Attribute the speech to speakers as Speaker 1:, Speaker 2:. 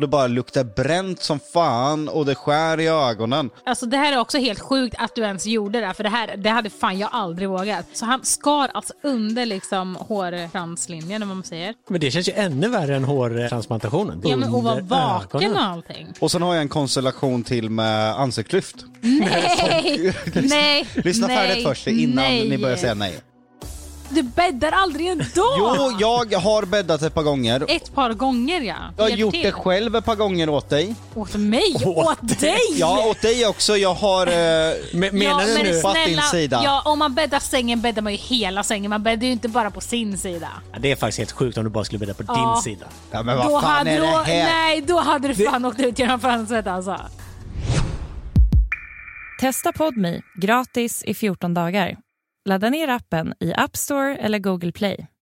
Speaker 1: Det bara luktar bränt som fan och det skär i ögonen.
Speaker 2: Alltså det här är också helt sjukt att du ens gjorde det, för det här det hade fan jag aldrig vågat. Så han skar alltså under liksom hårfranslinjen, eller vad man säger.
Speaker 3: Men det känns ju ännu värre än hårtransplantationen.
Speaker 2: Ja men och var
Speaker 3: Under
Speaker 2: vaken
Speaker 3: ögonen.
Speaker 2: och allting.
Speaker 1: Och sen har jag en konstellation till med ansiktslyft.
Speaker 2: Nej! nej!
Speaker 1: Lyssna
Speaker 2: nej,
Speaker 1: färdigt först innan ni börjar säga nej.
Speaker 2: Du bäddar aldrig ändå!
Speaker 1: Jo, jag har bäddat ett par gånger.
Speaker 2: Ett par gånger ja.
Speaker 1: Jag har
Speaker 2: Hjälp
Speaker 1: gjort
Speaker 2: till.
Speaker 1: det själv ett par gånger åt dig.
Speaker 2: Åt mig? Åt dig?
Speaker 1: Ja, åt dig också. Jag har... Eh,
Speaker 3: Men, menar du
Speaker 2: men
Speaker 3: nu?
Speaker 1: Fatt din sida.
Speaker 2: Ja, om man bäddar sängen bäddar man ju hela sängen. Man bäddar ju inte bara på sin sida.
Speaker 3: Ja, Det är faktiskt helt sjukt om du bara skulle bädda på
Speaker 2: Ja.
Speaker 3: din sida.
Speaker 1: ja, men vad fan är det
Speaker 2: då,
Speaker 1: här?
Speaker 2: Nej, då hade du fan åkt ut genom fönstret alltså.
Speaker 4: Testa Podmi gratis i 14 dagar. Ladda ner appen i App Store eller Google Play.